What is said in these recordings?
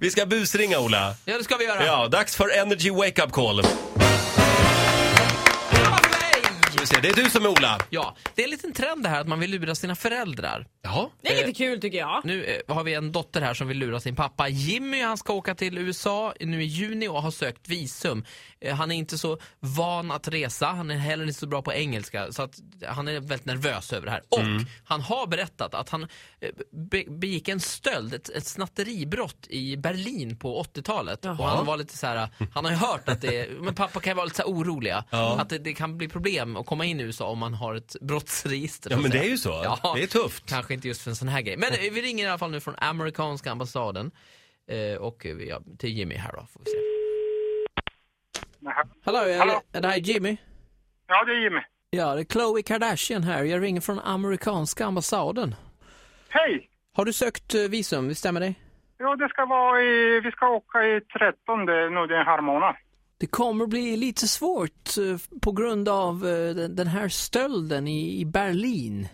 Vi ska busringa, Ola. Ja, det ska vi göra. Ja, dags för Energy Wake Up Call. Bra för mig! Ska vi se, Det är du som är Ola. Ja, det är en liten trend det här att man vill lura sina föräldrar. Jaha. Det är lite kul tycker jag. Nu eh, har vi en dotter här som vill lura sin pappa Jimmy. Han ska åka till USA nu i juni och har sökt visum. Eh, Han är inte så van att resa, han är heller inte så bra på engelska så att han är väldigt nervös över det här. Och Mm. han har berättat att han eh, be begick en stöld, ett, ett snatteribrott i Berlin på 80-talet. Och han var lite så här, eh, han har ju hört att det är, men pappa kan ju vara lite så här oroliga. Ja. Att det, det kan bli problem att komma in i USA om man har ett brottsregister. Ja, så att men det säga. är ju så. Ja. Det är tufft. Kanske inte just för en sån här grej. Men eh, vi ringer i alla fall nu från amerikanska ambassaden. Eh, och eh, ja, till Jimmy här då, får vi se. Hallå, är, Hallå. är det här Jimmy? Ja, det är Jimmy. Ja, det är Chloe Kardashian här. Jag ringer från amerikanska ambassaden. Hej! Har du sökt eh, visum, visst stämmer det? Ja, det ska vara i, vi ska åka i 13 nu den här månaden. Det kommer bli lite svårt eh, på grund av eh, den den här stölden i, i Berlin.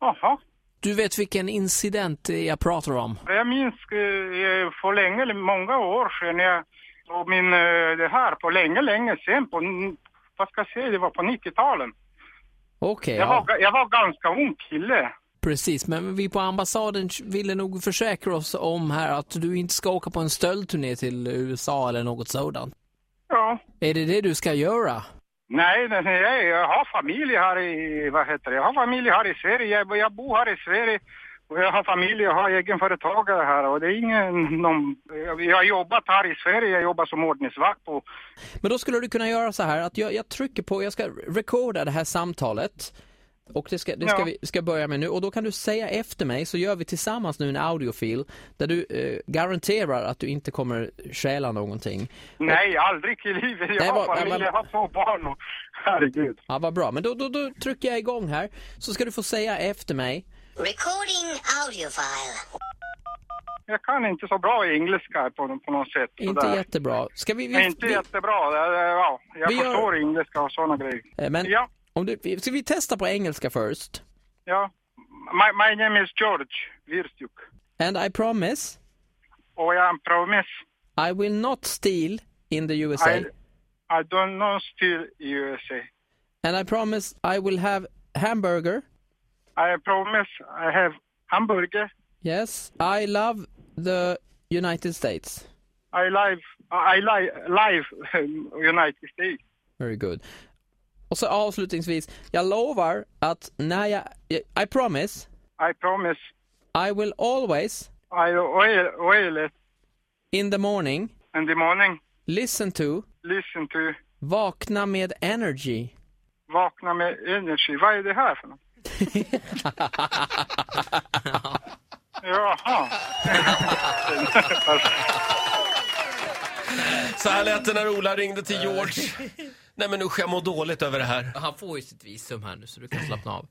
Jaha. Du vet vilken incident eh, jag pratar om? Jag minns eh, för länge, eller många år sedan, jag, och min, eh, det här, på länge, länge sen, på, n- vad ska jag säga, det var på 90-talen. Okej, Jag, ja. var, ga- jag var ganska ung kille. Precis, men vi på ambassaden ville nog försäkra oss om här att du inte ska åka på en stöldturné till USA eller något sådant. Ja. Är det det du ska göra? Nej, nej, nej, jag har familj här i, vad heter det, jag har familj här i Sverige, jag, jag bor här i Sverige och jag har familj, jag har egenföretagare här och det är ingen, någon, jag, jag har jobbat här i Sverige, jag jobbar som ordningsvakt på Men då skulle du kunna göra så här att jag, jag trycker på, jag ska recorda det här samtalet och det ska, det ska Ja. vi ska börja med nu och då kan du säga efter mig så gör vi tillsammans nu en audiofil där du eh, garanterar att du inte kommer stjäla någonting. Nej, aldrig i livet. Jag Nej, har vad- familj, men- jag har två barn och herregud. Ja, vad bra. Men då, då, då trycker jag igång här så ska du få säga efter mig Recording audio file. Jag kan inte så bra i engelska på, på något sätt. Inte sådär. jättebra. Ska vi... Nej, inte jättebra. Det- det- Ja, jag Vi gör- förstår engelska och sådana grejer. Eh, Men Ja. om du, ska vi testa på engelska först? Ja. My, my name is George Virstuk. And I promise Och jag am promise I will not steal in the USA. I, I don't know still USA. And I promise I will have hamburger. I promise I have hamburger. Yes, I love the United States. I live, I live, live United States. Very good. Och så avslutningsvis, jag lovar att när jag... I promise I promise I will always I will, will in the morning in the morning listen to listen to Vakna med Energy. Vakna med energi. Vad är det här för något? Jaha. Så här lät det när Ola ringde till George. Nej men usch, jag mår dåligt över det här. Han får ju sitt visum här nu så du kan slappna av.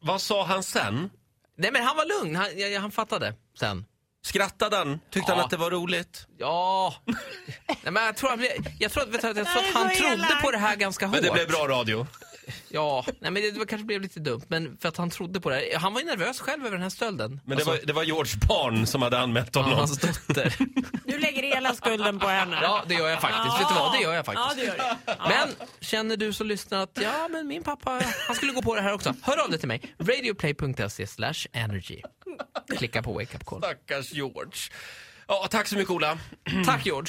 Vad sa han sen? Nej men han var lugn, han, ja, ja, han fattade sen. Skrattade han? Tyckte han Ja. att det var roligt? Ja. Nej, men jag tror, han blev- jag tror, att- vet du, jag tror att han trodde på det här ganska hårt. Men det blev bra radio. Ja, nej, men det, det kanske blev lite dumt, men för att han trodde på det här. Han var ju nervös själv över den här stölden. Men det var, det var Georges barn som hade anmält Alltså- Ja, alltså- honom. hans dotter. Du lägger hela skulden på henne. Ja, det gör jag faktiskt. Vet du vad? Det gör jag Ja, faktiskt. det gör du. Men känner du som lyssnar att ja, men min pappa, han skulle gå på det här också. Hör av dig till mig. Radioplay.se slash energy. Klicka på wake up call. Stackars George. Ja, tack så mycket Ola. Tack George.